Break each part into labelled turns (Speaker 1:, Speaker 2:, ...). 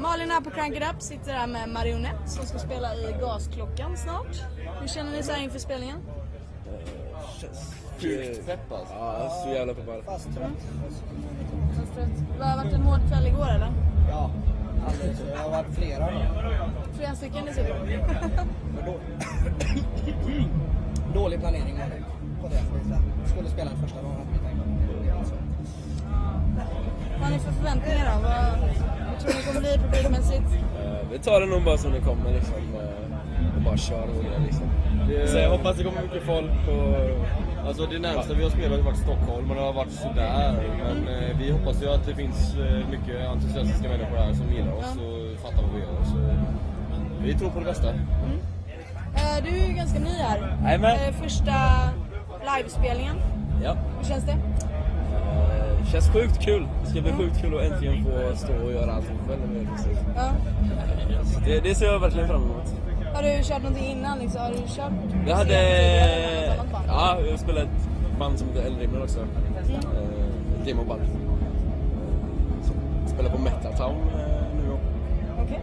Speaker 1: Malin här på Crank It Up sitter här med Marionette som ska spela i Gasklockan snart. Hur känner ni så här inför spelningen?
Speaker 2: Sjukt pepp alltså. Ja, så jävla peppad.
Speaker 3: Fast trött.
Speaker 1: Det har varit en hård kväll igår eller?
Speaker 3: Ja, alldeles. Det har varit flera då.
Speaker 1: Flera stycken typ. dessutom.
Speaker 3: Men då... Dålig planering var det på det. Skulle spela den första dagen hade vi tänkt. Så.
Speaker 1: Vad har ni för förväntningar då? Vad vad tror ni kommer bli publikmässigt?
Speaker 2: Eh, Vi tar det nog bara som det kommer liksom. eh, Och bara kör våra liksom.
Speaker 4: Så jag hoppas det kommer mycket folk och...
Speaker 5: Alltså det närmsta vi har spelat har varit Stockholm och det har varit sådär. Men eh, vi hoppas ju att det finns eh, mycket entusiastiska människor här som gillar oss och fattar vad vi gör. Så vi tror på det bästa.
Speaker 1: Eh, Du är ju ganska ny här.
Speaker 4: Jajamän.
Speaker 1: Eh, Första livespelningen.
Speaker 4: Ja.
Speaker 1: Hur känns det?
Speaker 4: Eh, känns sjukt kul. Det ska bli sjukt kul att äntligen få stå och göra allting själv. med musik.
Speaker 1: Ja.
Speaker 4: Så Det, det ser jag verkligen fram emot.
Speaker 1: Har du kört någonting innan? Liksom? Har du kört?
Speaker 4: Jag hade...
Speaker 1: Tidigare med något annat band?
Speaker 4: Ja, jag spelade ett band som heter Eldrimner också. Eh, Ett demoband. Eh, som Spelar på Metal Town eh, nu.
Speaker 1: Okej.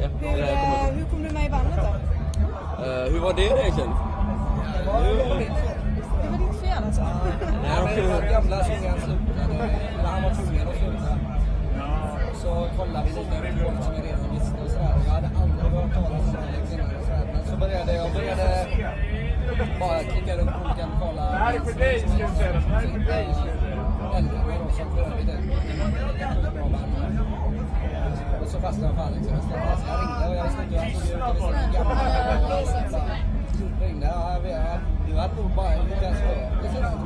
Speaker 4: Ja,
Speaker 1: Hur,
Speaker 4: det här kommer
Speaker 1: eh, hur kom du med i bandet då?
Speaker 4: Eh, hur var det egentligen?
Speaker 1: Det var ditt fel alltså.
Speaker 3: Ja, men det var gamla sångaren slutade, eller han var tvungen att sluta. Så kollade vi lite på folk som vi redan visste och sådär. Jag hade aldrig hört talas om Alex innan och sådär. Men så började jag började bara klicka runt boken och kolla. Det här är för dig slutkärran, det här är för dig som för övrigt är ett bra band. Och så fastnade jag för Alex och jag ställde alltså, Jag ringde och jag visste inte hur han såg ut. Jag visste inte hur gammal han var. Ringde, ja, jag vet. Du hade nog bara en liten skål.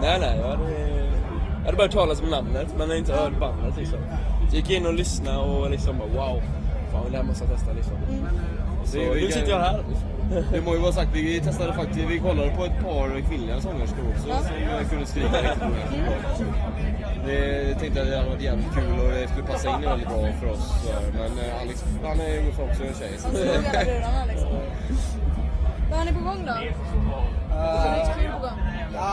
Speaker 4: Nej, nej. Jag hade, jag hade bara hört talas om namnet men jag inte hört bandet liksom. Så gick jag in och lyssnade och liksom bara wow. Fan, det här måste jag testa liksom. Så
Speaker 5: Det är ju
Speaker 4: nu
Speaker 5: vilken-
Speaker 4: sitter jag här. liksom.
Speaker 5: Det må ju vara sagt, vi testade faktiskt, vi kollade på ett par kvinnliga sångerskor också som eh, kunde skrika riktigt bra. Det jag tänkte att det hade varit jävligt kul och det skulle passa in väldigt bra för oss. så här. Men eh, Alex, han är ju också en tjej. så-
Speaker 1: Han slog alla dörrarna liksom. Vad har ni på gång då? Vad är kul på gång?
Speaker 3: Eh, Ja,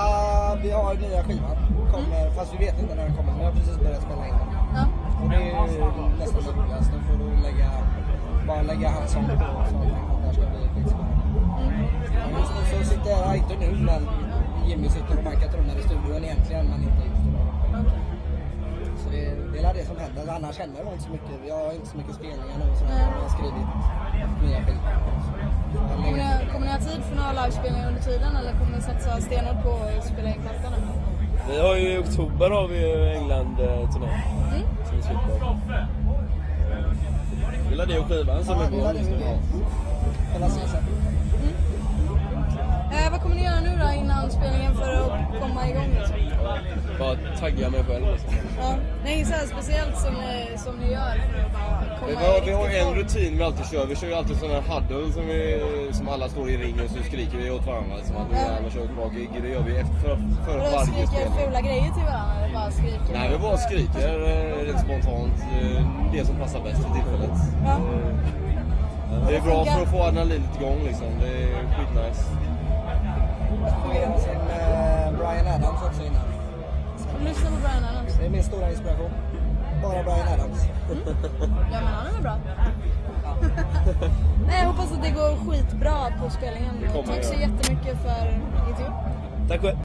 Speaker 3: vi har nya skivan. Kommer, Fast vi vet inte när den kommer. Vi har precis börjat spela in den.
Speaker 1: Ja.
Speaker 3: Och det är ju nästan roligast. Då får du lägga, bara lägga hans sång på. Så att det här ska bli skitbra. Men Just nu så sitter jag här, inte nu, men Jimmy sitter och bankar trummor i studion egentligen, men inte just nu. Så det, det är väl det som händer. Annars händer det inte så mycket. Vi har inte så mycket spelningar nu och sådär. Vi har skrivit nya
Speaker 1: Kommer,
Speaker 3: skivor.
Speaker 1: ni, kommer ni ha tid för några livespelningar under tiden eller kommer ni satsa stenhårt på att spela in plattan? nu?
Speaker 4: Vi har ju i oktober har vi ju England-turné.
Speaker 1: Mm.
Speaker 4: Som vi slipper. Eh, Gillar det och skivan som är på gång just nu.
Speaker 3: Hela season.
Speaker 1: Eh, vad kommer ni göra nu då innan spelningen för att komma igång? Liksom?
Speaker 4: Bara tagga mig själv liksom.
Speaker 1: Ja. Nej, så här speciellt som ni, som ni gör för att bara komma
Speaker 5: Vi har,
Speaker 1: i
Speaker 5: vi har
Speaker 1: riktig
Speaker 5: en
Speaker 1: form.
Speaker 5: rutin vi alltid kör. Vi kör ju alltid sån här huddle som, vi, som alla står i ring och så skriker vi åt varandra. Som att nu jävlar kör vi ett bra gig. Det gör vi efter för, för
Speaker 1: Vadå,
Speaker 5: varje
Speaker 1: skriker
Speaker 5: spelning.
Speaker 1: fula grejer till varandra eller bara skriker?
Speaker 5: Nej, vi bara skriker eh, rent spontant eh, det som passar bäst för tillfället. Eh,
Speaker 1: Ja.
Speaker 5: Det är bra för att få adrenalinet igång liksom. Det är skitnice.
Speaker 3: fungerar sen eh, Brian Adams också innan.
Speaker 1: Kommer ni lyssna på Brian Adams?
Speaker 3: Det är min stora inspiration. Bara Brian Adams.
Speaker 1: Ja, men han är väl bra? Nej, jag hoppas att det går skitbra på spelningen.
Speaker 5: kommer
Speaker 1: Tack så
Speaker 5: det
Speaker 1: jättemycket för intervjun.
Speaker 4: Tack själv.